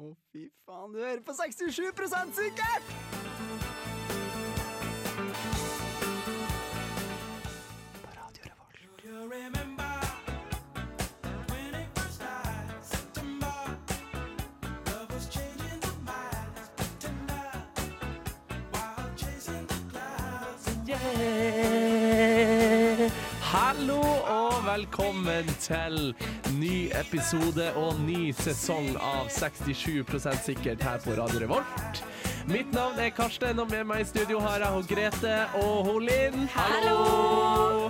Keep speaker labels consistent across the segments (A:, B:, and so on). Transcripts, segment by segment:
A: Å, fy faen, du hører på 67 sikkert! På Radio Revolt.
B: Hallo og velkommen til ny episode og ny sesong av 67 sikkert her på Radio Revolt. Mitt navn er Karsten, og med meg i studio har jeg hun Grete og hun Linn. Hallo!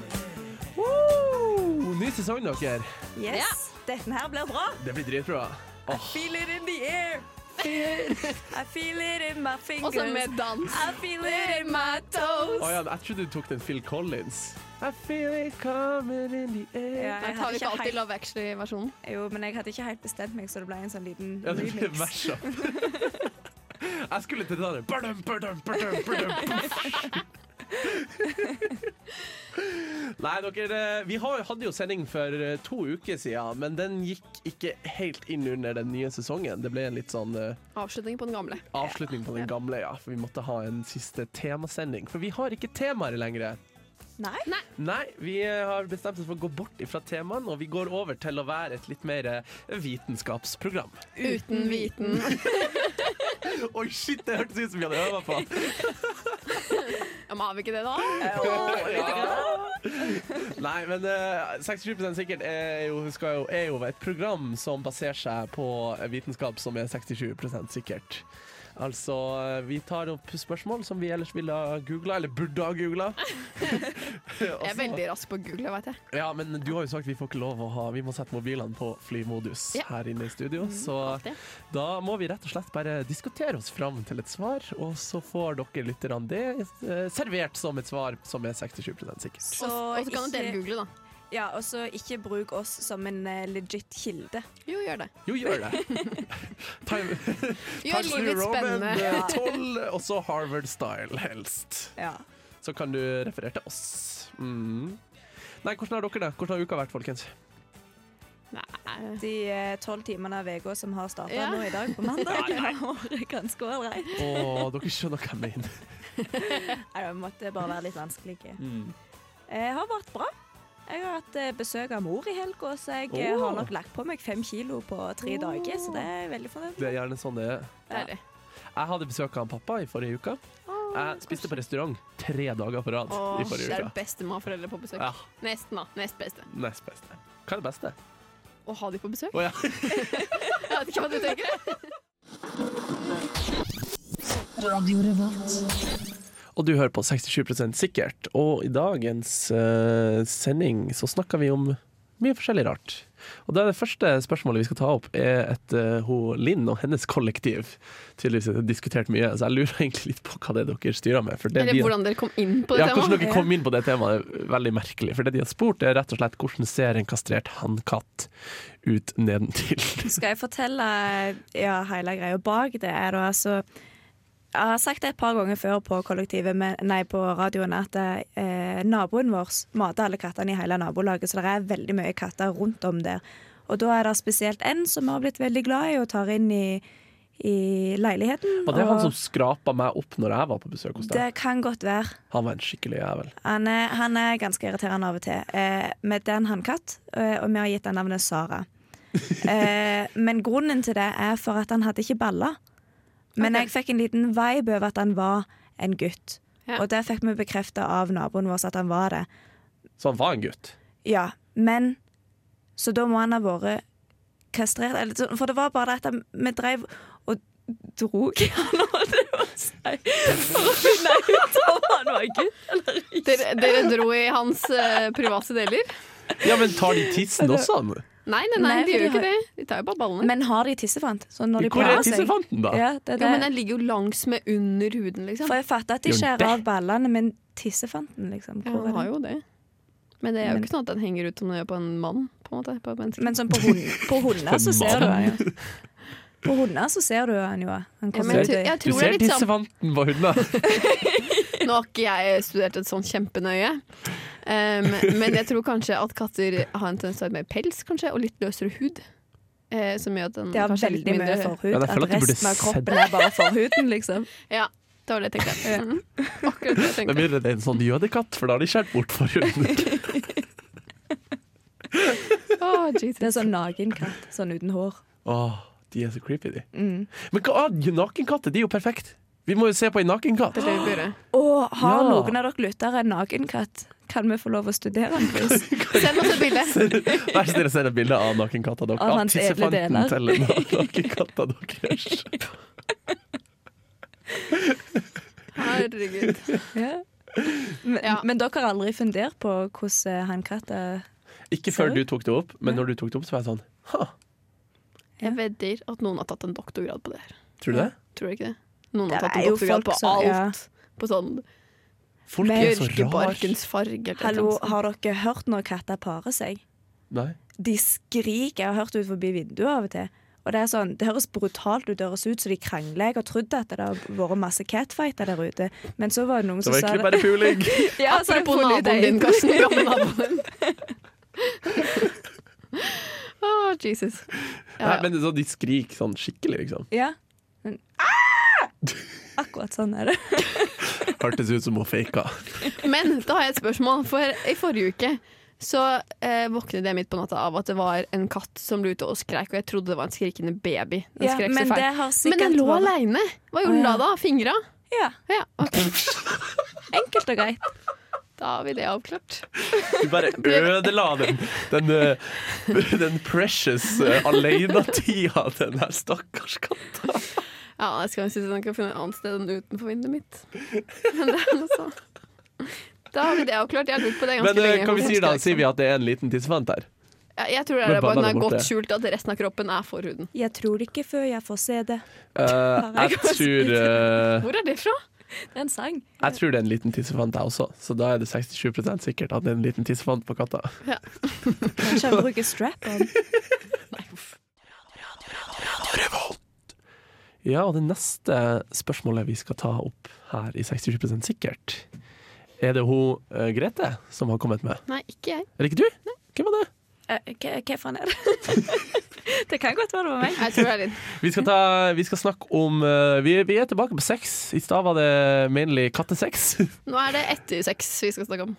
B: Woo! Ny sesong, dere.
C: Yes, Dette her blir bra.
B: Det blir dritbra. Åh,
C: Feel it in the air. I feel it in my fingers.
D: Også med dans.
C: I feel it in my toes.
B: Å ja, jeg trodde du tok den Phil Collins. I feel it coming in the air.
C: Ja,
D: Jeg tar
C: hadde
D: ikke
C: ikke
D: alltid
C: helt,
D: Love Actually-versjonen.
C: jo, men jeg hadde ikke helt bestemt meg, så det ble en sånn liten
B: Ja, det blir
C: remix.
B: mashup. Jeg skulle til det badum, badum, badum, badum. Nei, dere, eh, vi har- hadde jo sending for eh, to uker siden, men den gikk ikke helt inn under den nye sesongen. Det ble en litt sånn eh,
D: Avslutning på den gamle.
B: avslutning på den gamle, ja. For vi måtte ha en siste temasending. For vi har ikke temaer lenger.
C: Nei?
B: Nei, vi eh, har bestemt oss for å gå bort ifra temaene, og vi går over til å være et litt mer eh, vitenskapsprogram.
D: Uten
C: Mm.
D: viten.
B: Oi, shit, det hørtes ut som vi hadde øvd på.
D: Ja, men har vi ikke det, da?
B: Nei, men eh, 67 sikkert er jo, skal jo, er jo et program som baserer seg på vitenskap som er 67 sikkert. Altså, eh, vi tar opp spørsmål som vi ellers ville ha googla, eller burde ha googla.
D: Jeg er veldig rask på å google, veit jeg.
B: Ja, men du har jo sagt vi får ikke lov å ha Vi må sette mobilene på flymodus
D: Ja. Mhm,
B: her inne i studio, så
D: alltid.
B: da må vi rett og slett bare diskutere oss fram til et svar, og så får dere lytterne det eh, servert som et svar som er 67 sikkert.
C: Så
D: Og og så kan jo dere
C: ikke,
D: google, da.
C: ja, og så ikke bruk oss som en eh, legit kilde.
D: Jo, gjør det.
B: Jo, gjør det. Time,
D: Gjør
B: Times New
D: livet
B: Roman
D: spennende.
B: eh, 12, og så Harvard Style, helst.
C: Ja.
B: Så kan du referere til oss. Mm. Nei, hvordan har dere det? Hvordan har uka vært, folkens?
D: Nei.
C: De eh, tolv timene av uka som har starta
D: Ja.
C: nå i dag, på mandag, har vært ganske ålreit.
B: Å, dere skjønner hva jeg mener.
C: Nei, det måtte bare være litt vanskelig. Jeg Eh, har vært bra. Jeg har hatt eh, besøk av mor i helga, så jeg eh,
B: Åh.
C: har nok lagt på meg fem kilo på tre dager. Så det er jeg veldig fornøyd
B: Det
C: med.
B: er gjerne sånn det er.
D: Deilig.
B: Jeg hadde besøk av en pappa i forrige uke. Jeg spiste på restaurant tre dager på rad
D: Åh,
B: i
D: det
B: forrige
D: er det
B: uke.
D: beste med å ha foreldre på besøk.
B: Ja,
D: Nesten, da. Nest beste.
B: nest beste. Hva er det beste?
D: Å ha de på besøk.
B: Å ja.
D: Jeg vet ikke hva du tenker. jeg.
B: Og du hører på 67 sikkert. Og i dagens eh, sending så snakker vi om mye forskjellig rart. Og det, er det første spørsmålet vi skal ta opp, er et eh, hun Linn og hennes kollektiv. Tydeligvis har diskutert mye, så jeg lurer egentlig litt på hva det er dere styrer med. For det
D: Eller
B: de har,
D: hvordan dere kom inn på det
B: ja, hvordan
D: temaet.
B: dere kom inn på det temaet, er veldig merkelig. For det de har spurt, er rett og slett hvordan ser en kastrert hannkatt ut nedentil?
C: Skal jeg fortelle ja, hele greia bak det? er da altså Jeg har sagt det et par ganger før på kollektivet, men, nei, på radioen, at eh, naboen vår mater alle kattene i hele nabolaget, så det er veldig mye katter rundt om der. Og da er det spesielt en som vi har blitt veldig glad i og tar inn i, i leiligheten.
B: Og det er han som skrapa meg opp når jeg var på besøk hos deg.
C: det kan godt være.
B: Han var en skikkelig jævel.
C: Han er, han er ganske irriterende av og til. Eh, men det er en hannkatt, eh, og vi har gitt han navnet Sara. Eh, men grunnen til det er for at han hadde ikke baller. Men jeg fikk en liten vibe over at han var en gutt.
D: Ja.
C: Og det fikk vi bekrefta av naboen vår at han var det.
B: Så han var en gutt.
C: Ja, men Så da må han ha vært kastrert. Eller, så- for det var bare det at han- vi drev og drog i han, holdt jeg på å si, for å finne ut om han var gutt eller ikke.
D: Dere, dere dro i hans eh, private deler.
B: Ja, men tar de tissen også? han?
D: Nei, nei, nei,
C: Nei, for
D: de gjør jo
C: de
D: ikke det. De tar jo bare ballene.
C: Men har de tissefant? Så når de
B: Hvor er
C: parer seg
B: tissefanten, da?
C: Ja, det er
D: jo, men
C: det.
D: den ligger jo langs med under huden, liksom.
C: For jeg fatter at
B: Jo,
C: de
B: det-
C: skjærer av ballene, men tissefanten, liksom.
D: Ja,
C: Hvor
D: han
C: er
D: har
C: den?
D: jo det. Men det er jo
C: Men-
D: ikke sånn at den henger ut som den gjør på en mann. På en måte, på et menneske.
C: Men sånn på, hund, på hunder så ser du
B: mann.
C: han jo. På hunder så ser du han jo. Han
D: ja,
C: kommer
D: men jeg,
C: ut
D: tror-
C: i-
D: jeg
B: Du
D: tror det
B: ser
D: er litt sånn
B: tissefanten på hundene.
D: Nå har ikke jeg studert et sånn kjempenøye, eh, um, men jeg tror kanskje at katter har en tendens til å ha mer pels, kanskje, og litt løsere hud. eh, som gjør at den
C: Det har
D: kanskje er
C: veldig mye forhud.
B: Ja, jeg
C: at
B: føler at du burde
C: resten av
B: sett-
C: kroppen er bare forhuden, liksom.
D: Ja, det var det jeg tenkte. Mhm. Akkurat det jeg
B: Da
D: tenkte.
B: blir det en sånn jødekatt, for da har de skjært bort forhuden.
D: Å,
C: Det er
D: Jesus.
C: sånn naken katt, sånn uten hår.
B: Åh, de er så creepy, de.
D: Mm.
B: Men hva, ah, nakenkatter, de er jo perfekt. Vi må jo se på en nakenkatt.
D: Det er det vi burde.
C: Og har
B: Ja.
C: noen av dere lyttere en nakenkatt? Kan vi få lov å studere den, Chris?
D: Send oss et bilde.
B: Vær så snill å sende et bilde av nakenkatta deres.
C: Av hans edle
B: tissefanten
C: deler.
B: til na- nakenkatta deres.
D: Herregud.
C: Ja. Men,
D: Ja.
C: men dere har aldri fundert på hvordan eh, han katta
B: Ikke
C: Ser
B: før
C: du?
B: du tok det opp, men når du tok det opp, så var jeg sånn ha,
D: Jeg vedder at noen har tatt en doktorgrad på det her.
B: tror du det?
D: Tror du ikke det? Noen
C: Det
D: har tatt en
C: er jo folk
D: doktorgrad på
C: som- ja.
D: alt. På sånn
B: Folk er så rare.
D: bjørkebarkens farge. eller sånn.
C: Hallo,
D: noe sånt.
C: har dere hørt når katter parer seg?
B: Nei.
C: De skriker. Jeg har hørt ut forbi vinduet av og til. Og Det er sånn, det høres brutalt ut, det høres ut som de krangler. Jeg har trodd at det har vært masse catfighter der ute, men så var det noen
B: Det
C: som
B: var
C: sa
B: egentlig bare puling.
C: Ja, så har jeg
D: Apropos
C: funnet ut
D: naboen din,
C: det.
D: Karsten. Gamle naboen din. Å, Jesus.
B: Nei,
D: Ja, ja.
B: men så de skriker sånn skikkelig, liksom.
C: Ja. Men, ah! Akkurat sånn er det.
B: Hørtes ut som hun faka.
D: Men da har jeg et spørsmål. For i forrige uke så eh, våknet jeg midt på natta av at det var en katt som lå ute og skreik, og jeg trodde det var en skrikende baby. Den
C: Ja,
D: skrek
C: men
D: så
C: det
D: fælt.
C: har
D: Men
C: sikkert
D: den lå
C: vært-
D: aleine! Hva gjorde den da,
C: Å,
D: da? Fingra?
C: Ja,
D: Ja, ok.
C: enkelt og greit.
D: Da har vi det avklart.
B: Du bare ødela den, den, eh, den precious eh, alenetida til den her stakkars katta.
D: Ja, jeg skal synes den kan finne et annet sted enn utenfor vinduet mitt. Men det er noe sånn. Da har vi det avklart. Jeg har lurt på det ganske
B: Men eh,
D: lenge.
B: hva vi sier da?
D: Kanskje
B: Sier vi at det er en liten tissefant her?
D: Ja, jeg tror det
B: Men
D: er bare at den
B: banan
D: er
B: er borte.
D: godt skjult, at resten av kroppen er forhuden.
C: Jeg tror det ikke før jeg får se det.
B: Eh, jeg, tror, eh,
D: Hvor er det fra?
C: Det er en sang.
B: jeg tror det er en liten tissefant, jeg også. Så da er det 67 sikkert at det er en liten tissefant på katta.
C: Kanskje han bruker strap-on.
B: Ja, og det neste spørsmålet vi skal ta opp her i 67 sikkert, er det hun eh, Grete som har kommet med.
D: Nei, ikke jeg.
B: Er det ikke du? Hvem var det?
C: Eh, Hva hva faen er det? Det kan godt være det var meg.
D: Jeg tror det er din.
B: Vi skal, ta, vi skal snakke om eh, vi, vi er tilbake på sex. I stad var det mainly kattesex.
D: Nå er det etter sex vi skal snakke om.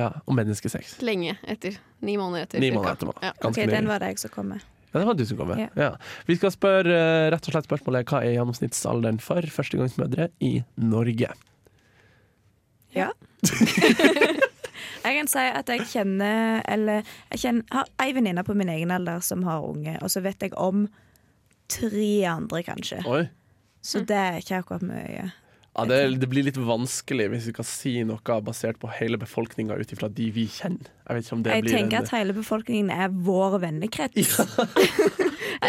B: ja, og menneskesex.
D: Lenge etter. Ni måneder etter.
B: Ni
D: cirka.
B: måneder etterpå.
D: Ja.
C: Ok,
B: Ganske
C: den
B: nylig.
C: var det jeg som kom med.
B: Ja, det var du som kom med.
C: Ja.
B: Ja. Vi skal spørre eh, rett og slett spørsmålet hva er gjennomsnittsalderen for førstegangsmødre i Norge?
C: Ja. Jeg kan si at jeg kjenner Eller jeg kjenner, har ei venninne på min egen alder som har unge, og så vet jeg om tre andre, kanskje.
B: Oi.
C: Så det er ikke akkurat mye.
B: Ja, det, det blir litt vanskelig hvis vi skal si noe basert på hele befolkninga ut ifra de vi kjenner. Jeg vet ikke om det
C: Jeg
B: blir en
C: tenker at hele befolkningen er vår vennekrets. Er det
D: Det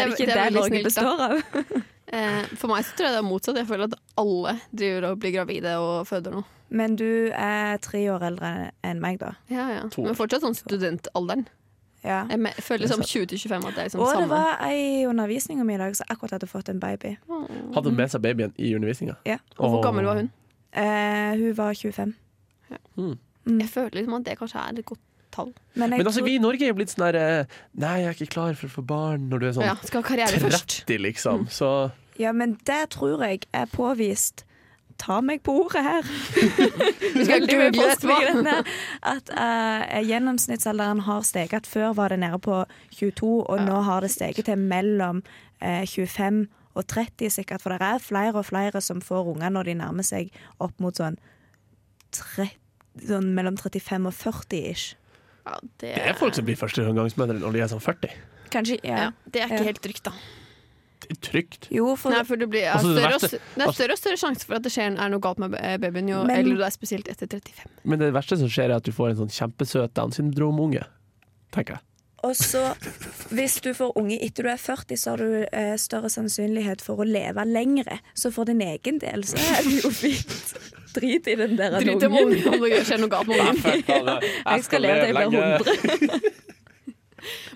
C: ikke
D: er- det
C: det
D: er veldig
C: Norge
D: snilt, da.
C: består av?
D: Eh, for meg så tror jeg det er motsatt. Jeg føler at alle driver og blir gravide og føder nå.
C: Men du er tre år eldre enn meg, da.
D: Ja, ja.
B: To.
D: Men fortsatt sånn studentalderen.
C: Ja.
D: Jeg me- føler som 20-25 at det er liksom
C: Og det
D: samme.
C: var ei i undervisninga mi i dag som akkurat hadde fått en baby.
B: Hadde hun med seg babyen i undervisninga?
C: Ja.
D: Og hvor gammel var hun?
C: Eh, hun var 25.
D: Jeg føler liksom at det kanskje er et godt tall.
C: Men jeg
B: Men altså,
C: tror-
B: vi i Norge er jo blitt sånn der eh, Nei, jeg er ikke klar for å få barn når du er sånn
D: Ja, skal ha karriere først.
B: 30, liksom. Så
C: Ja, men det tror jeg er påvist. Ta meg på ordet her.
D: Du skal
C: Veldig mye
D: google
C: forskning i
D: etterpå.
C: denne. At eh, gjennomsnittsalderen har steget. Før var det nede på 22, og nå har det steget til mellom eh, 25 og 30 sikkert. For det er flere og flere som får unger når de nærmer seg opp mot sånn, 30, sånn mellom 35 og 40 ish.
D: Ja, det,
B: det er folk som blir førstegangsmødre når de er sånn 40.
C: Kanskje, ja.
D: ja, det er
C: Ja.
D: ikke helt trygt, da.
B: Det er trygt.
C: Jo, for
D: Nei, for det blir ja,
B: Altså, det
D: større, og
B: verste-
D: s- det er større og større sjanse for at det skjer er noe galt med eh, babyen jo
C: Men-
D: eldre du er, spesielt etter 35.
B: Men det verste som skjer, er at du får en sånn kjempesøt Downs syndrom-unge. Tenker jeg.
C: Og så, hvis du får unge etter du er 40, så har du eh, større sannsynlighet for å leve lengre. Så for din egen del så er det jo fint. Drit i den der
D: Drit om
C: ungen.
D: ungen om det skjer noe galt med ungen.
C: Jeg skal leve til jeg blir 100.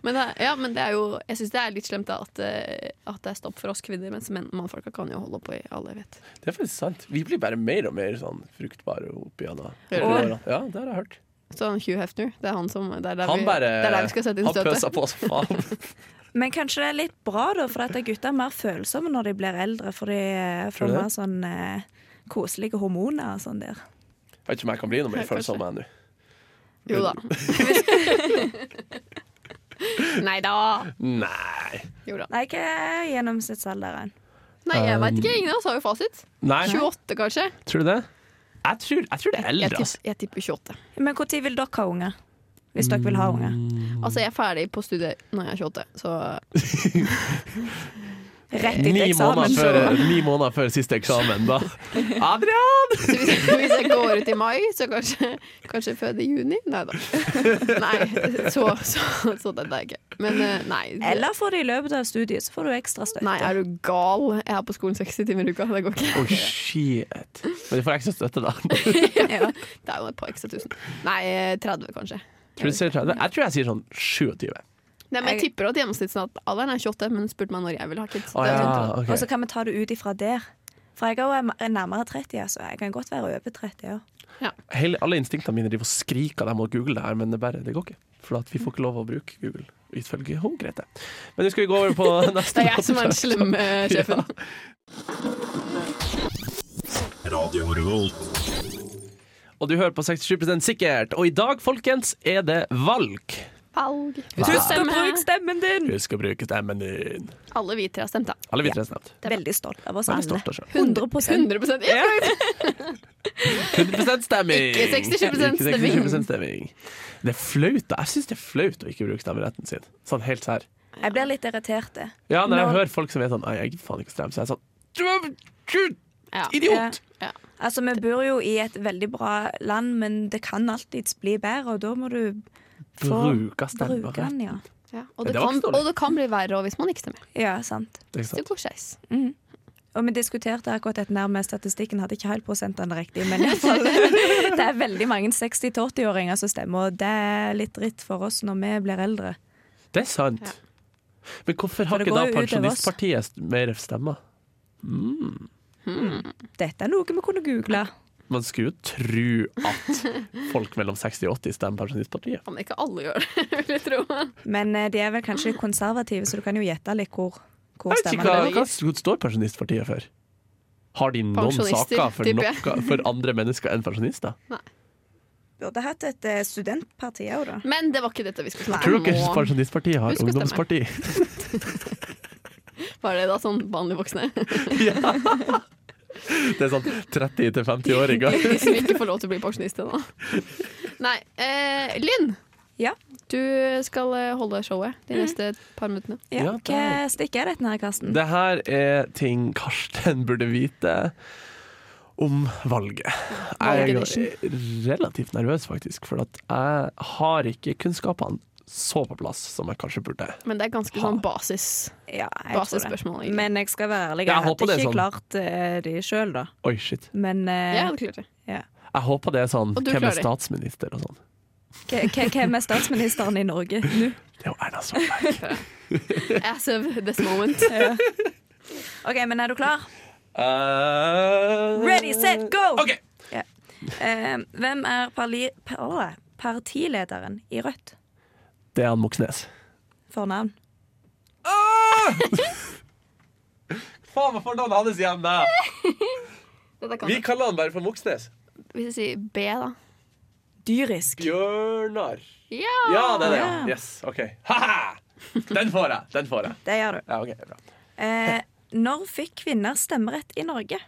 D: Men det, er- ja, men det er jo, jeg syns det er litt slemt da, at, eh, at det er stopp for oss kvinner, mens menn, mannfolka kan jo holde på i all evighet.
B: Det er faktisk sant. Vi blir bare mer og mer sånn fruktbare oppi gjennom
D: Hører
C: du
B: årene. Ja, det har jeg hørt.
D: Så han Hugh Hefner, det er han som Det er der,
B: Han
D: vi,
B: bare
D: det er der vi skal sette inn
B: Han
D: støtet.
B: pøser på som faen.
C: Men kanskje det er litt bra, da, for at gutter er mer følsomme når de blir eldre. For de eh,
B: Tror
C: får
B: du det?
C: mer sånn eh, koselige hormoner og sånn der.
B: Jeg vet ikke om jeg kan bli noe mer
D: Ja, kanskje.
B: følsom enn nå.
D: Jo da. Nei da.
B: Nei.
D: Jo da.
C: Nei, hva er gjennomsnittsalderen?
D: Nei, jeg veit ikke. Ingen av oss har jo fasit.
B: Nei.
D: 28, kanskje?
B: Tror du det? Jeg tror, jeg tror det er
D: Jeg
B: eldre,
D: tipper,
B: altså.
D: jeg tipper 28.
C: Men når vil dere ha unger? Hvis dere vil ha unger.
D: Altså, jeg er ferdig på studiet når jeg er 28, så
C: Rett
B: Ni
C: etter
B: måneder,
C: eksamen.
B: før,
C: så-
B: ni måneder før siste eksamen, da. Adrian!
D: Så hvis, hvis jeg går ut i mai, så kanskje, kanskje føde i juni? Nei da. Nei, så, så, så det er jeg ikke. Men eh, nei.
C: Eller får de i løpet av studiet, så får du ekstra støtte.
D: Nei, er du gal? Jeg er på skolen 60 timer i uka. Det går ikke.
B: Oh, shit. Men du får ekstra støtte, da.
C: ja.
D: Det er jo et par ekstra tusen. Nei, eh, 30 kanskje.
B: Tror du sier 30? Jeg tror jeg sier sånn 27.
D: Nei, men jeg tipper at gjennomsnittsalderen er 28, men spurte meg når jeg ville ha kids.
B: Å,
D: Det er
B: ja,
D: sånn-
B: ok.
C: Og så kan vi ta det ut ifra der. For jeg er jo nærmere 30, altså. Jeg kan godt være over 30 år.
B: Hele, alle instinktene mine driver og skriker at jeg må google det her, men det, bare, det går ikke. For at vi får ikke lov å bruke Google, ifølge hun, Grete. Men nå skal vi gå over på neste
D: Det er jeg som er den
B: låt.
D: slemme eh, sjefen.
E: Radio Revolt.
B: Og du hører på 67 sikkert. Og i dag, folkens, er det valg.
D: Valg.
C: Husk å bruke stemmen din!
B: Husk å bruke stemmen din.
D: Alle vi tre har stemt, da.
B: Alle vi tre er stemt.
C: Veldig stolt av oss
B: Veldig
C: alle.
B: stolt av oss.
C: 100
D: 100 ja.
B: 100 stemming!
D: Ikke 67%
B: Ikke 67% stemming. Det er flaut, da. Jeg syns det er flaut å ikke bruke stemmeretten sin. Sånn helt sær.
C: Jeg blir litt irritert. det.
B: Ja, når jeg
C: Når-
B: hører folk som er sånn Nei, jeg gidder faen ikke å stemme, så er jeg sånn Du er du-
D: Ja.
B: idiot!
D: Ja.
C: Altså, Vi bor jo i et veldig bra land, men det kan alltids bli bedre, og da må du få
B: Bruke
C: bruke
B: stemmeretten.
C: den. Ja,
D: Ja. Og,
B: Det
D: det
B: var
D: kan,
B: ikke så dårlig.
D: og det kan bli verre også hvis man ikke stemmer.
C: ja sant.
B: Ikke sant?
D: Så det går skeis.
C: Og vi diskuterte akkurat dette her med statistikken, hadde ikke helt prosentene riktig, men i hvert fall, det er veldig mange 60-80-åringer som stemmer, og det er litt dritt for oss når vi blir eldre.
B: Det er sant. Men hvorfor
C: For
B: har
C: det
B: ikke
C: går
B: da
C: jo utover oss.
B: Pensjonistpartiet st- mer stemmer? Mm,
C: Dette er noe vi kunne google.
B: Man skulle jo tro at folk mellom 60 og 80 stemmer Pensjonistpartiet.
D: Kan ikke alle gjøre det, vil jeg tro.
C: Men eh, de er vel kanskje litt konservative, så du kan jo gjette litt hvor, hvor
B: Jeg vet ikke
C: stemmer
B: hva,
C: det.
B: hva står Pensjonistpartiet for? Har de noen
D: Pensjonister,
B: saker for,
D: tipper jeg.
B: noe, for andre mennesker enn pensjonister?
C: Burde hatt et eh, studentparti òg, da.
D: Men det var ikke dette vi skulle snakke
B: Tror
D: om
B: dere
D: nå.
B: Pensjonistpartiet har
D: Husk å stemme.
B: ungdomsparti?
D: Var det da sånn vanlige voksne?
B: ja. Det er sånn 30 til 50-åringer.
D: De som ikke får lov til å bli pensjonist ennå. Nei. Eh, Linn,
C: Ja.
D: du skal eh, holde showet de neste par minuttene.
C: ja.
B: Ja,
C: Hva stikk er dette her, Karsten?
B: Det her er ting Karsten burde vite om valget. Jeg er relativt nervøs, faktisk, for at jeg har ikke kunnskapene så på plass som jeg kanskje burde.
D: Men det er ganske sånn basis.
C: Ja, jeg tror det.
D: Basisspørsmål, egentlig.
C: Men jeg skal være ærlig,
B: Ja,
C: jeg
B: jeg håper
C: hadde
B: det er
C: ikke
B: sånn.
C: klart eh, de sjøl, da.
B: Oi, shit.
C: Men eh,
D: Ja, det klarte jeg.
C: ja.
B: Jeg håper det er sånn
D: Og du
B: Hvem
D: klarer
B: er
D: det.
B: statsminister og sånn?
C: K- k- hvem er statsministeren i Norge nå?
B: Det er jo Erna Solberg.
D: As of this moment.
C: OK, men er du klar?
B: Eh,
C: Ready, set, go!
B: OK.
C: Eh, hvem er parli par åh, partilederen i Rødt?
B: Det er han Moxnes.
C: For navn.
B: Faen, hva får navnet hans igjen, da?
D: Dette kan jeg.
B: kaller han bare for Moxnes.
D: Hvis jeg sier B, da.
C: Dyrisk.
B: Bjørnar.
D: Ja!
C: Ja.
B: Yes, OK. Ha-ha! Den får jeg. Den får jeg.
C: Det gjør du.
B: Ja, ok, bra.
C: Eh, når fikk kvinner stemmerett i Norge?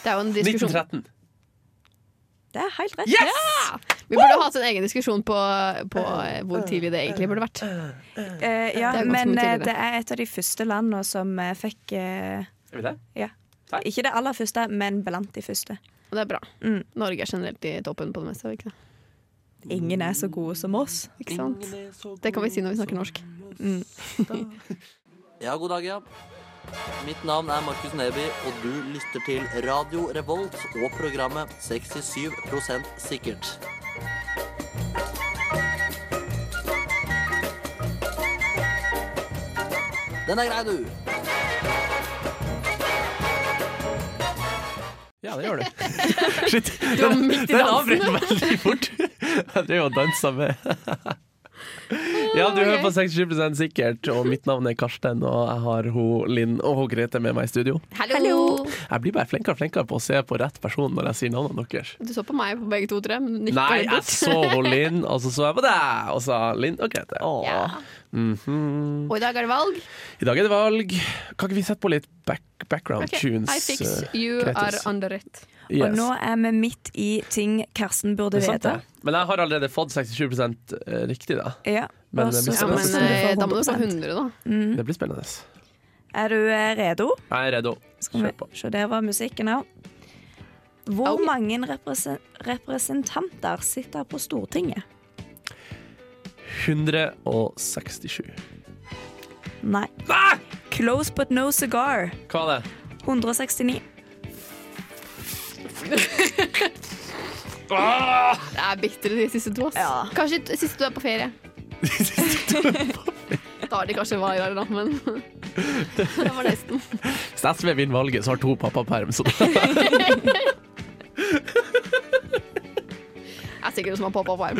D: Det er jo en diskusjon.
B: 1913.
C: Det er helt rett.
B: Yes!
D: Vi burde hatt en egen diskusjon på, på eh, hvor tidlig det egentlig burde vært.
C: Eh, ja,
D: Det er ganske
C: men
D: mye
C: eh,
D: tidligere.
C: det er et av de første landene som eh, fikk eh,
B: Er vi det?
C: Ja.
B: Takk.
C: Ikke det aller første, men blant de første.
D: Og det er bra.
C: Mm.
D: Norge er generelt i toppen på det meste. Ikke, det?
C: Ingen er så gode som oss.
D: ikke sant? Det kan vi si når vi snakker norsk.
F: Ja, god dag, ja. Mitt navn er Markus Neby, og du lytter til Radio Revolt og programmet 67 sikkert. Den er grei, du.
B: Ja, det gjør du. Shit.
D: Du var midt i
B: Den
D: dansen.
B: avbrøt veldig fort. Jeg drev og dansa med Ja, du
D: ok.
B: hører på 67 sikkert, og mitt navn er Karsten, og jeg har ho, Linn og ho, Grete med meg i studio.
D: Hallo.
B: Jeg blir bare flinkere og flinkere på å se på rett person når jeg sier navnene deres.
D: Du så på meg på begge to, tror jeg, men du nikket
B: Nei, altså. jeg
D: bort.
B: så ho Linn, og så så jeg på deg, og sa Linn og Grete. Åh.
D: Ja.
B: Mhm.
D: Og i dag er det valg.
B: I dag er det valg. Kan ikke vi sette på litt back, background
D: Ok,
B: tunes?
D: I fix
B: eh,
D: you are
B: Gretes?
D: under it.
B: Yes.
C: Og nå er vi midt i ting Karsten burde
B: Det er sant,
C: vite.
B: det. Men jeg har allerede fått 67 riktig, da.
C: Ja.
B: Men
C: og
B: det blir
C: så sånn
D: Ja,
B: spennende.
D: men
C: satser
D: eh,
C: vi på
D: da må du få
C: 100%.
D: 100, da.
B: Det blir spennende.
C: Er du eh, redo?
B: Jeg er redo.
C: Skal vi
B: Kjør på.
C: se, der var musikken òg. Hvor
D: Au.
C: mange represen representanter sitter på Stortinget?
B: 167.
C: Nei.
B: Nei!
C: Close but no cigar.
B: Hva er det?
C: 169.
D: Det er bitre de siste to. ass.
C: Ja.
D: Kanskje t- siste du er på ferie. da har de kanskje varer, da, men det var nesten.
B: Hvis SV vinner valget, så har to pappaperm. Så da
D: Jeg er sikkert som har poppa på arm.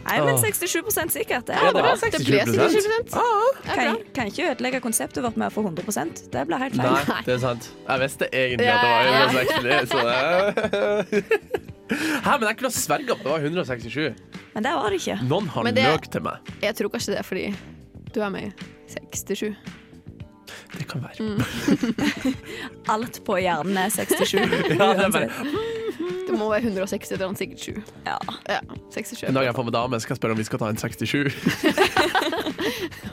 C: Nei, men 67 sikkert. Ah. Det er
B: Ja, det
C: bra.
B: var
D: Det ble
B: 67%.
D: 67 Det er bra.
C: Kan, kan ikke ødelegge konseptet vårt med å få 100 Det blir helt feil.
B: Nei, det er sant. Jeg visste egentlig
D: Ja,
B: at det
D: ja,
B: var 160. Så det... Hæ, men jeg kunne ha sverga på at det var 167.
C: Men der var det ikke.
B: Noen har
D: Men det-
B: løk til meg.
D: Jeg tror kanskje det er fordi du er med i 67.
B: Det kan være.
C: Alt på hjernen er 67.
B: Ja, det er bare...
D: Det må være 160 eller annet, sikkert 7.
C: Ja.
D: Ja, 67.
B: En dag jeg får med dame, skal jeg spørre om vi skal ta en 67.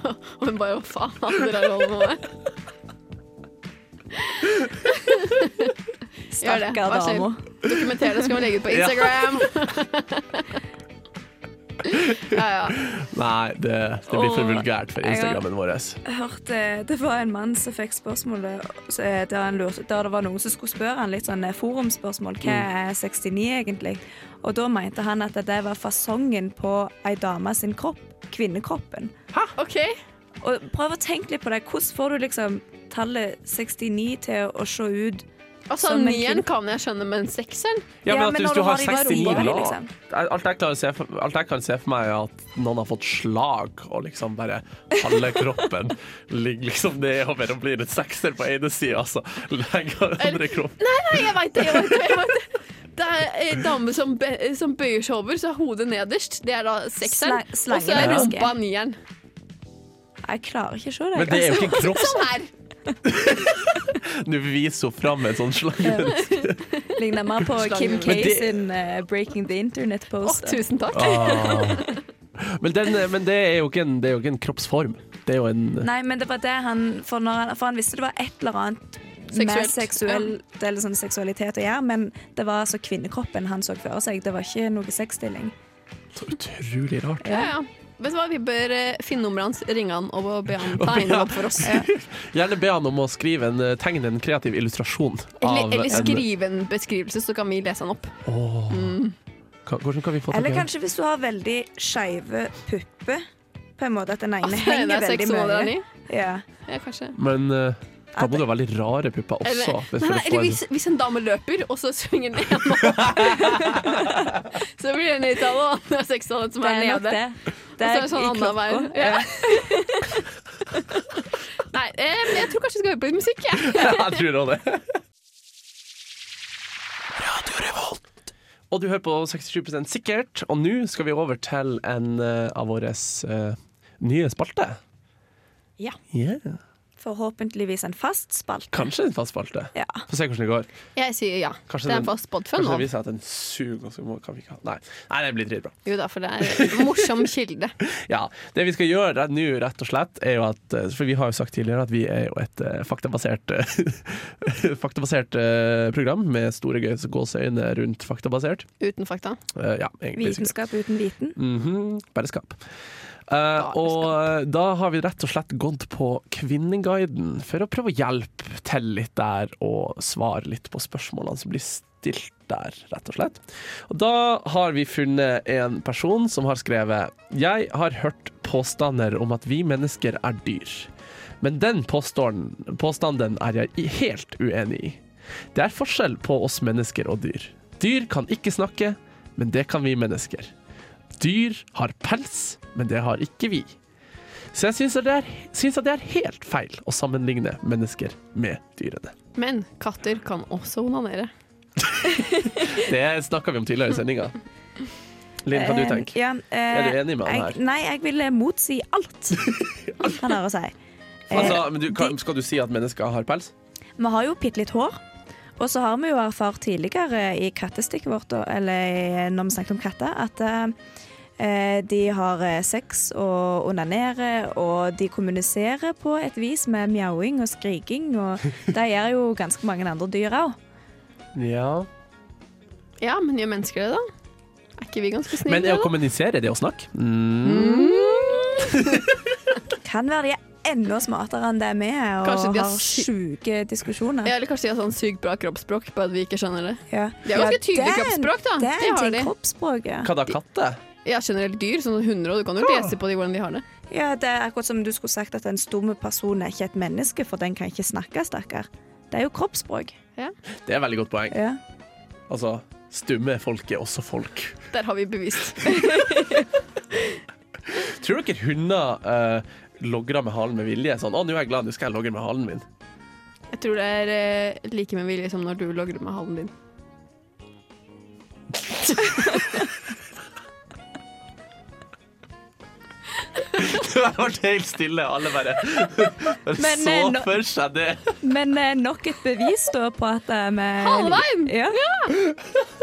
D: Og hun bare hva faen, dere har holdt på med. Gjør det.
C: Stakkar
D: Vær så
C: dama.
D: Dokumenter det, så kan vi legge ut på Instagram. ja, ja.
B: Nei, det, det blir for
C: Åh,
B: vulgært for Instagrammen vår.
C: Jeg hørte Det var en mann som fikk spørsmålet så, eh, der, han lurte, der det var noen som skulle spørre han litt sånn eh, forumspørsmål. Hva er 69 egentlig? Og da mente han at det var fasongen på ei dame sin kropp. Kvinnekroppen.
D: OK.
C: Og prøv å tenke litt på det. Hvordan får du liksom tallet 69 til å se ut
D: Altså,
C: Som en
D: nieren
C: kvinne.
D: kan jeg skjønne, men sekseren
B: Ja, men
C: Ja,
B: at
C: men
B: hvis
C: når
B: du
C: du
B: har
C: har i hver
B: 69
C: omgang,
B: lag
C: liksom.
B: alt, jeg klarer å se for, alt jeg kan se for meg, er at noen har fått slag, og liksom bare halve kroppen ligger liksom nedover og blir en sekser på ene sida, altså. Legger andre kroppen
D: Nei, nei, jeg veit det! jeg vet det, jeg vet det. Det er ei dame som, be, som bøyer seg over, så er hodet nederst. Det er da sekseren.
C: Sla- slangen
D: Og så er
C: er ganske-
D: rumpa nieren.
C: Jeg klarer ikke å se det.
B: Men det er jo ikke en kropp.
D: Sånn her.
B: Nå viser hun fram en sånn slange.
C: Det ligner mer på
D: Slangen.
C: Kim K
B: Men det-
C: sin eh, 'Breaking the
D: Å,
C: Internet'-post.
D: tusen takk.
B: Men, den, men det, er jo ikke en, det er jo ikke en kroppsform. Det er jo en
C: Nei, men det var det han For, når han, for han visste det var et eller annet
D: Seksuelt,
C: med seksuell, eller sånn seksualitet å gjøre, men det var altså kvinnekroppen han så for seg. Det var ikke noe sexstilling.
B: så utrolig rart.
D: Ja, ja. Vet du hva, vi bør eh, finne nummeret hans, ringe han og be han tegne det opp for oss.
C: Eh,
B: Gjerne be han om å skrive en, eh, tegne en kreativ illustrasjon av
D: Eller, eller
B: en
D: skrive en beskrivelse, så kan vi lese den opp.
B: Åh. Ka- Hvordan kan vi få tak i
C: Eller
B: han?
C: kanskje hvis du har veldig skeive pupper, på en måte at den ene
D: Altså, Det er
C: henger veldig
D: seks
C: mye.
D: måneder ni.
C: Ja.
D: Ja, kanskje.
B: Men eh, da må du ha veldig rare pupper også.
D: Eller,
B: hvis du
D: nei, nei,
B: får
D: eller
B: en-
D: hvis, hvis en dame løper, og så svinger den ene opp, så blir det nitallet og andre sekstallet som
C: Det
D: er
C: er nok
D: nede.
C: det. Det
D: Og
C: er
D: så er det sånn
C: i
D: annen vei.
C: klokka.
D: Ja. Nei, eh, men jeg tror kanskje vi skal høre på litt musikk. jeg.
B: jeg tror også det. Radio Revolt. Og du hører på 67 sikkert, og nå skal vi over til en eh, av våre nye spalte.
C: Ja.
B: Yeah.
C: Forhåpentligvis en fast spalt.
B: Kanskje en fast spalte.
C: Ja.
B: Få se hvordan det går.
D: Jeg sier ja.
B: Kanskje
D: det er
B: den-
D: en fast podfun
B: Kanskje
D: nå.
B: det viser seg at den suger. og så må- Kan vi ikke ha. Nei. Nei, det blir dritbra.
D: Jo da, for det er en morsom kilde.
B: Ja, Det vi skal gjøre rett nå, rett og slett, er jo at eh, For vi har jo sagt tidligere at vi er jo et eh, faktabasert eh, Faktabasert eh, program med store gøy- gåseøyne rundt faktabasert.
D: Uten fakta.
B: Eh, ja, egentlig. sikkert.
C: Vitenskap uten viten.
B: Mhm, Bare skap. Eh, og eh, da har vi rett og slett gått på Kvinneguiden for å prøve å hjelpe til litt der, og svare litt på spørsmålene som blir stilt der, rett og slett. Og da har vi funnet en person som har skrevet Jeg har hørt påstander om at vi mennesker er dyr. Men den påstånden, påstanden er jeg i- helt uenig i. Det er forskjell på oss mennesker og dyr. Dyr kan ikke snakke, men det kan vi mennesker. Dyr har pels, men det har ikke vi. Så jeg syns at, det er- syns at det er helt feil å sammenligne mennesker med dyrene.
D: Men katter kan også onanere.
B: Det snakka vi om tidligere i sendinga. Linn, hva du
C: Eh,
B: tenker
C: ja, eh,
B: Er du enig med han
C: jeg- Nei, jeg vil eh, motsi alt han har å si. Eh,
B: Altså, men du? kan- Skal du si at mennesker har pels?
C: Vi har jo bitte litt hår. Og så har vi jo erfart tidligere i kattestikket vårt, og- eller i- når vi snakket om katter, at eh, de har eh, sex og onanerer, og de kommuniserer på et vis med mjauing og skriking, og det gjør jo ganske mange andre dyr òg.
B: Ja.
D: Ja, men gjør mennesker det, da? Er ikke vi ganske snille?
B: Men det å
D: da?
B: kommunisere, det å snakke mm.
C: Kan være de er enda smartere enn det vi er, og
D: Kanskje de har
C: har
D: sy-
C: sjuke diskusjoner.
D: Ja, eller kanskje de har sånn sykt bra kroppsspråk, bare at vi ikke skjønner det.
C: Ja.
D: De har ganske tydelig
C: det er en-
D: kroppsspråk, da.
C: Det er
D: Det
C: en
D: har
C: ting,
D: de.
C: kroppsspråket.
B: Hva da, katter?
D: Ja, generelt dyr, sånn hunder, og du kan jo lese på de hvordan de har det.
C: Ja, det er akkurat som du skulle sagt at en stumme person er ikke et menneske, for den kan ikke snakke, stakkar. Det er jo kroppsspråk.
B: Det er et veldig godt poeng.
C: Ja.
B: Altså, stumme folk er også folk.
D: Der har vi bevist.
B: Tror dere hunder eh, logrer med halen med vilje? Sånn 'Å, nå er jeg glad, nå skal jeg logre med halen min'.
D: Jeg tror det er eh, like med vilje som når du logrer med halen din.
B: Det har vært helt stille. Alle bare, bare
C: Men,
B: så
C: eh, nå-
B: for seg det.
C: Men eh, nok et bevis da på at eh, vi
D: Halvveien!
C: Ja.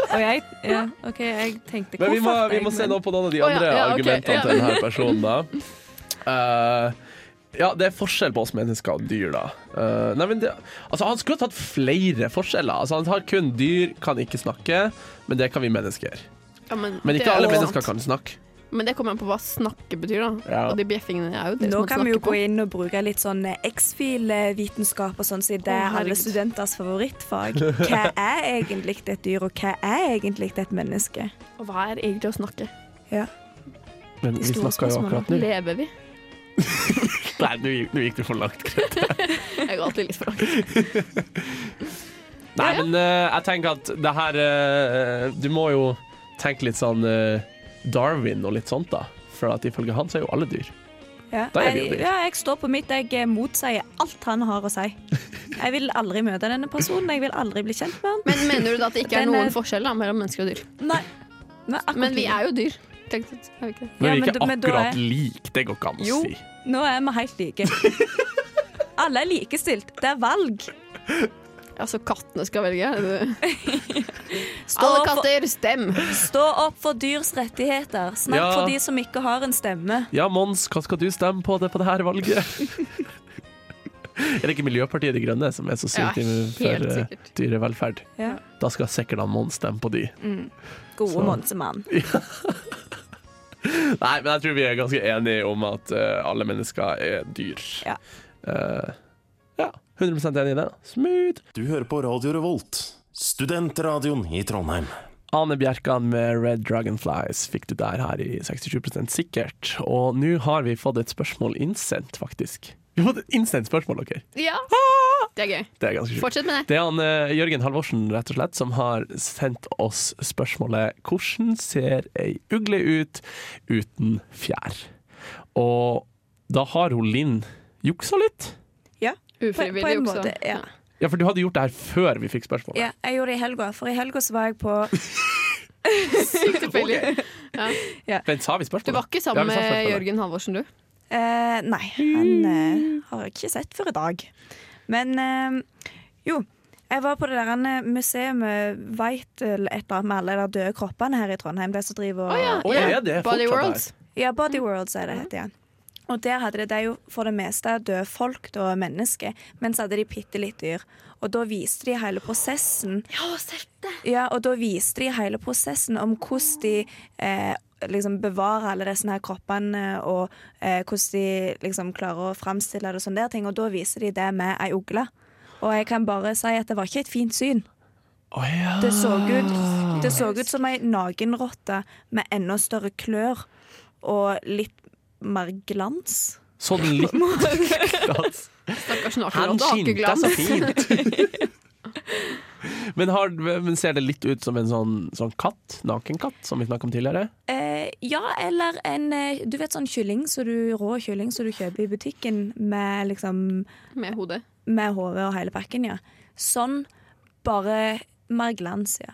C: Og jeg ja, OK, jeg tenkte
B: Men vi må,
C: koffert,
B: vi
C: jeg,
B: må se
C: men-
B: nå på noen av de
D: Å, ja,
B: andre
D: ja, ok,
B: argumentene
D: ja.
B: til denne personen, da. Eh, ja, det er forskjell på oss mennesker og dyr, da. Eh, nei, men det, altså, han skulle ha tatt flere forskjeller. Altså, han har kun dyr kan ikke snakke, men det kan vi mennesker.
D: Ja, men,
B: Men
D: det
B: ikke
D: er
B: alle
D: jo
B: mennesker
D: sant.
B: kan snakke.
D: Men det kommer an på hva snakke betyr, da.
B: Ja.
D: Og de bjeffingene er jo det
C: Nå
D: som man
C: kan vi jo
D: snakker
C: gå
D: på.
C: inn og bruke litt sånn eh, X-fil-vitenskap og sånn, siden det
D: Å,
C: er alle
D: herregud.
C: studenters favorittfag. Hva er egentlig et dyr, og hva er egentlig et menneske?
D: Og hva er egentlig å snakke?
C: Ja.
B: Men
C: De
B: vi
C: store
B: snakker jo
C: spørsmålene.
B: akkurat nå.
D: Lever vi?
B: Nei, nå gikk- nå gikk du for langt.
D: Jeg går alltid litt for langt.
B: Nei,
D: Ja, ja.
B: men eh, jeg tenker at det her eh, Du må jo tenke litt sånn eh, Darwin og litt sånt, da. For at ifølge han så er jo alle dyr.
C: Ja.
B: Da er vi jo
C: jeg,
B: dyr.
C: ja, jeg står på mitt. Jeg eh, motsier alt han har å si. Jeg vil aldri møte denne personen. Jeg vil aldri bli kjent med han.
D: Men mener du da at det ikke er
C: Den er-
D: noen forskjell da, mellom mennesker og dyr?
C: Nei. Nei, akkurat
D: Men vi
C: ikke.
D: er jo dyr. Tenk litt, Er vi ikke det?
B: Men
C: Ja,
B: vi er
C: men
B: ikke
C: da- men da
B: akkurat
C: er-
B: like, det går ikke an å
C: Jo.
B: si.
C: Nå er vi helt like. Alle er likestilt. Det er valg.
D: Altså, kattene skal velge.
C: Stå
D: Alle
C: opp, for,
D: katter, stem!
C: stå opp for dyrs rettigheter. Snakk
B: Ja.
C: for de som ikke har en stemme.
B: Ja, Mons, hva skal du stemme på det på det her valget? er det ikke Miljøpartiet De Grønne som er så
D: Ja,
B: sykt inne
D: helt
B: for eh,
D: sikkert.
B: dyrevelferd?
C: Ja.
B: Da skal sikkert han Mons stemme på de.
C: Gode
B: Så.
C: Monsemann.
B: Nei, men jeg tror vi er ganske enige om at eh, alle mennesker er dyr.
C: Ja.
B: Eh, ja 100 enig i det. Smooth.
E: Du hører på Radio Revolt, studentradioen i Trondheim.
B: Ane Bjerkan med Red Dragonflies fikk du der her i 67 sikkert. Og nå har vi fått et spørsmål innsendt, faktisk. Vi har fått et innsendt spørsmål, dere.
D: Ja.
C: Ah!
D: Det er gøy.
B: Det er ganske sjukt.
D: Fortsett med det.
B: Det er han eh, Jørgen Halvorsen rett og slett som har sendt oss spørsmålet 'Hvordan ser ei ugle ut uten fjær?' Og da har hun Linn juksa litt.
C: Ja, på, på
D: Ufrivillig
C: en
D: også.
C: måte. Ja.
B: Ja, for du hadde gjort det her før vi fikk spørsmålet.
C: ja. Jeg gjorde det i helga, for i helga så var jeg på
D: Sykt tilfeldig.
B: Men sa vi spørsmålet?
D: Du var ikke sammen
B: Ja, vi sa
D: med
B: spørsmålet.
D: Jørgen Halvorsen, du?
C: Eh, nei,
B: Mm.
C: han eh, har jeg ikke sett før i dag. Men eh, jo, jeg var på det der eh, museet med Vital, et eller annet med alle de døde kroppene her i Trondheim. De som driver og
B: Å, ja, er det
D: Body
B: fortsatt
D: Worlds.
C: Ja, Body World, sier det heter, ja. Og der hadde det, det er jo for det meste døde folk da, mennesker, men så hadde de bitte litt dyr. Og da viste de hele prosessen. Ja, Ja, og da viste de hele prosessen om hvordan de eh, liksom bevarer alle disse her kroppene, og eh, hvordan de liksom klarer å framstille det og sånne der ting. Og da viser de det med ei ugle. Og jeg kan bare si at det var ikke et fint syn.
B: Å, ja.
C: Det så ut, det så ut som ei nakenrotte med enda større klør og litt mer glans.
B: Sånn litt glans.
D: Stakkars
B: Han
D: nakenrotte har ikke
B: skinte
D: glans.
B: så fint. men, har, men ser det litt ut som en sånn, sånn katt? Nakenkatt, som vi snakket om tidligere?
C: Eh, ja, eller en eh, Du vet sånn kylling, så du, rå kylling som du kjøper i butikken med liksom
D: med hodet.
C: Med hodet og hele pakken, ja. Sånn, bare mer glans, ja.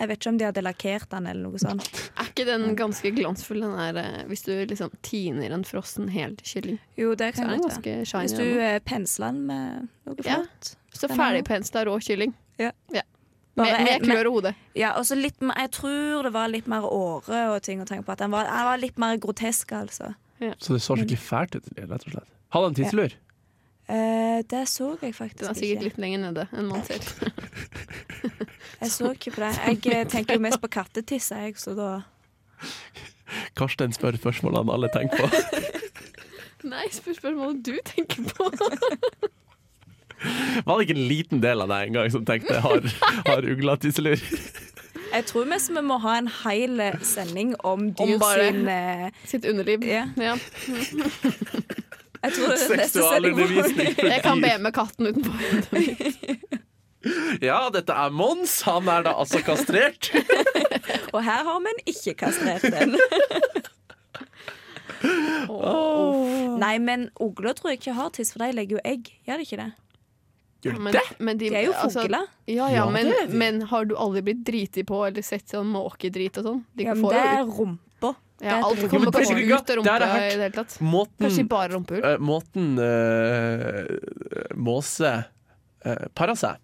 C: Jeg vet ikke om de hadde lakkert den eller noe sånt.
D: Er ikke den ganske glansfull, den er, eh, hvis du liksom tiner en frossen hel kylling?
C: Jo, det kan
D: Så er
C: jeg
D: den
C: godt være.
D: ganske
C: Hvis
D: shiny.
C: du
D: den.
C: eh, pensler den med noe
D: Ja.
C: flott.
D: Så
C: den er-
D: ferdigpensla rå kylling.
C: Ja.
D: Med,
C: Bare-
D: med klør og hode.
C: Ja, og så litt mer Jeg tror det var litt mer åre og ting å tenke på. At den var, den var litt mer grotesk, altså.
B: Så det så skikkelig fælt ut, rett og slett. Hadde han tidslur?
C: Eh, det så jeg faktisk
D: Den er
C: ikke.
D: sikkert litt lenger nede enn man ser.
C: Jeg så ikke på det. Jeg eh, tenker jo mest på kattetiss, jeg, så da
B: Karsten spør spørsmålene alle tenker på.
D: Nei, spør spørsmålet du tenker på.
B: Var det ikke en liten del av deg engang som tenkte har, har ugla tisselur?
C: Jeg tror mest vi må ha en hel eh, sending om
D: Om
C: dyr
D: bare-
C: sin eh,
D: Sitt underliv.
C: Ja.
D: Ja.
C: Jeg tror det er neste sending hvor
B: Seksualundervisning for
D: Jeg kan be
B: dyr.
D: med katten utenfor.
B: Ja, dette er Mons. Han er da altså kastrert.
C: Og her har vi en ikke-kastrert en. Nei, men ugler tror jeg ikke har tiss, for de legger jo egg. Gjør de ikke det?
D: Men, men de,
C: De er jo
D: altså,
C: fugler.
D: ja, ja,
B: Ja,
D: men,
B: det er de.
D: men har du aldri blitt driti på eller sett sånn måkedrit og sånn? De
C: Ja, men
D: får
C: det
D: jo
C: er rumpa.
D: ut- ja,
C: det-
D: alt
B: men
D: kommer
B: det er
D: kanskje
B: ikke-
D: ut av
B: det er Mm.
D: rumpa
B: det
D: i
B: her.
D: det hele tatt. Kanskje
B: Måten,
D: bare rumpehull.
B: eh, måten eh, måse uh, parer seg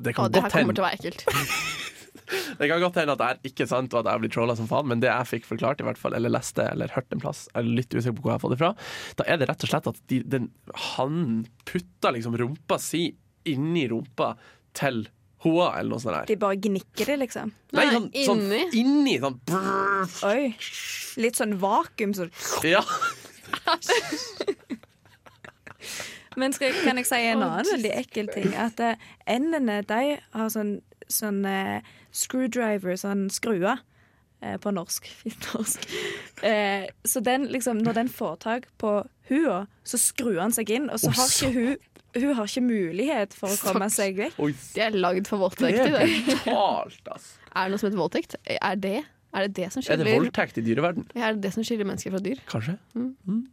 B: det
D: Å,
B: kan,
D: det her
B: godt
D: kommer
B: hende,
D: til å være ekkelt.
B: det kan godt hende at det er ikke sant, og at jeg blir trolla som faen, men det jeg fikk forklart, i hvert fall, eller leste eller hørte en plass, jeg er litt usikker på hvor jeg har fått det fra, da er det rett og slett at de, den, han putter liksom rumpa si inni rumpa til hoa, eller noe sånt der.
C: De bare gnikker det, liksom.
D: Nei,
B: sånn, sånn
D: inni.
B: inni. Sånn brrr,
C: Oi. Litt sånn vakuum. Så.
B: ja.
C: Men skal, jeg- kan jeg si en annen veldig ekkel ting? At eh, endene, de har sånn, sånn eh, screwdriver, sånn skrue. eh, På norsk. Fint norsk. Eh, så den, liksom, når den får tak på hua, så skrur han seg inn, og så
B: Oi,
C: har ikke hun hun har ikke mulighet for å komme seg vekk.
B: Oi,
D: De er lagd for
B: det
D: voldtekt.
B: er
D: Det.
B: brutalt, altså.
D: Er det noe som heter voldtekt? Er det er det, det som
B: Er det
D: skiller
B: voldtekt i dyreverden?
D: Ja, er det, det som skiller mennesker fra dyr?
B: Kanskje. Mm.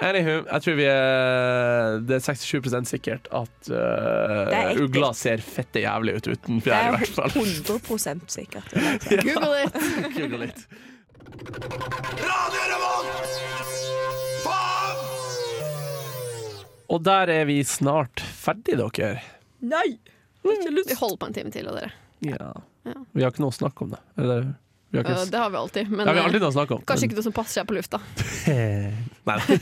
B: Anywho, jeg tror vi er Det er 67 sikkert at
C: Det er
B: uh,
C: ekkelt.
B: ugla ser fette jævlig ut uten
C: Det
B: fjær, i
C: er
B: hvert fall.
C: 100 sikkert.
D: Google it!
B: Google litt. Og der er vi snart ferdig, dere.
C: Nei!
D: Vi holder på en time til, og dere.
B: Ja.
D: Ja.
B: Vi har ikke noe å snakke om det. Eller, vi har
D: Uh,
B: ikke,
D: Det har vi alltid. Men
B: ja, vi har
D: eh,
B: alltid noe å snakke om.
D: kanskje
B: men-
D: ikke noe som passer seg på lufta.
B: Eh, Nei, nei.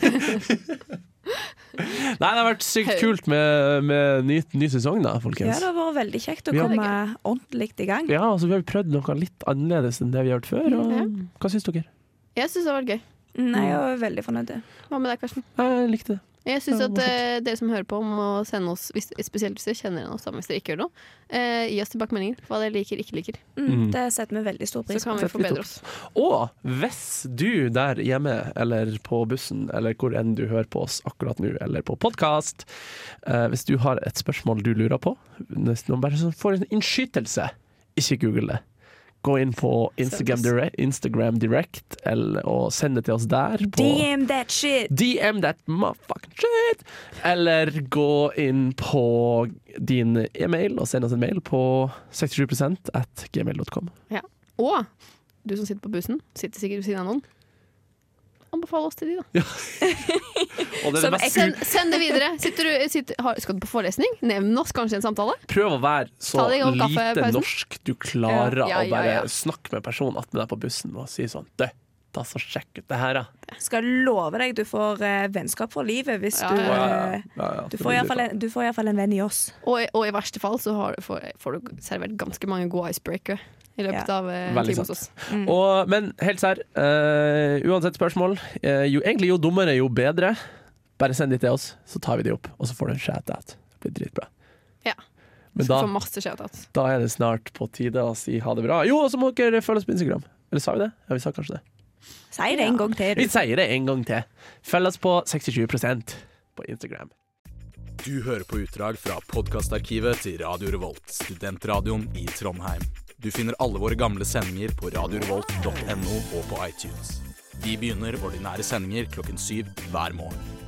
B: nei, det har vært sykt kult med, med ny, ny sesong, da,
C: Ja,
B: folkens.
C: det har vært veldig kjekt å
B: Ja.
C: komme ordentlig i gang.
B: Ja, altså, Vi har prøvd noe litt annerledes enn det vi har gjort før. Og, Hva syns dere?
D: Jeg syns det har vært gøy.
C: Nei, jeg er veldig fornøyd.
D: Hva med deg, Karsten?
B: Jeg likte det.
D: Jeg syns
B: Ja,
D: at eh, dere som hører på, må sende oss, hvis, spesielt hvis dere kjenner igjen oss, da, men hvis dere ikke gjør noe, eh, gi oss tilbakemeldinger. Hva dere liker, ikke liker.
C: Mm, det setter vi veldig stor
D: Så
C: pris på.
D: kan vi
B: setter vi
D: forbedre
B: opp.
D: oss.
B: Og hvis du der hjemme, eller på bussen, eller hvor enn du hører på oss akkurat nå, eller på podkast, eh, hvis du har et spørsmål du lurer på, hvis noen bare sånn får en innskytelse, ikke google det. Gå inn på Instagram, dire Instagram Direct eller, og send det til oss der. På
C: Damn that shit!
B: DM that motherfucking shit! Eller gå inn på din e-mail og send oss en mail på 67 at gmail.com.
D: Og du som sitter på bussen, sitter sikkert ved siden av noen. Anbefal oss til de, da.
B: Og det er det
C: Som
B: mest
D: Send, send det videre. Sitter du, sitter, har, skal du på forelesning? Nevn oss kanskje i en samtale.
B: Prøv å være så
D: Ta deg en kopp kaffe,
B: lite
D: pausen.
B: norsk du klarer
D: Ja, ja,
B: å
D: ja,
B: bare
D: ja.
B: snakke med personen attmed deg på bussen og si sånn Du, ta så sjekk ut det her, da.
C: Skal love deg du får eh, vennskap for livet hvis
D: Ja,
C: du
D: ja,
B: ja.
C: eh,
B: Ja, ja,
C: Du
B: det
C: får
B: blir
C: iallfall en, du får i hvert fall en venn i oss.
D: Og, i- og i verste fall så har, får, får du servert ganske mange gode icebreakere i løpet
C: Ja.
D: av eh, en
B: Veldig
D: time hos oss.
B: Og, men helt sær, eh, uansett spørsmål, eh, jo, egentlig jo dummere, jo bedre. Bare send de til oss, så tar vi de opp, og så får du en shout-out. Det blir dritbra.
D: Ja.
B: Men
D: Skal
B: da,
D: få masse shoutouts.
B: da er det snart på tide å si ha det bra. Jo, og så må dere følge oss på Instagram. Eller sa vi det? Ja, vi sa kanskje det.
C: Si det en gang til,
B: Vi
C: du.
B: sier det en gang til. Følg oss på 67 på Instagram.
G: Du hører på utdrag fra podkastarkivet til Radio Revolt, studentradioen i Trondheim. Du finner alle våre gamle sendinger på radiorevolt.no og på iTunes. De begynner ordinære sendinger klokken syv hver morgen.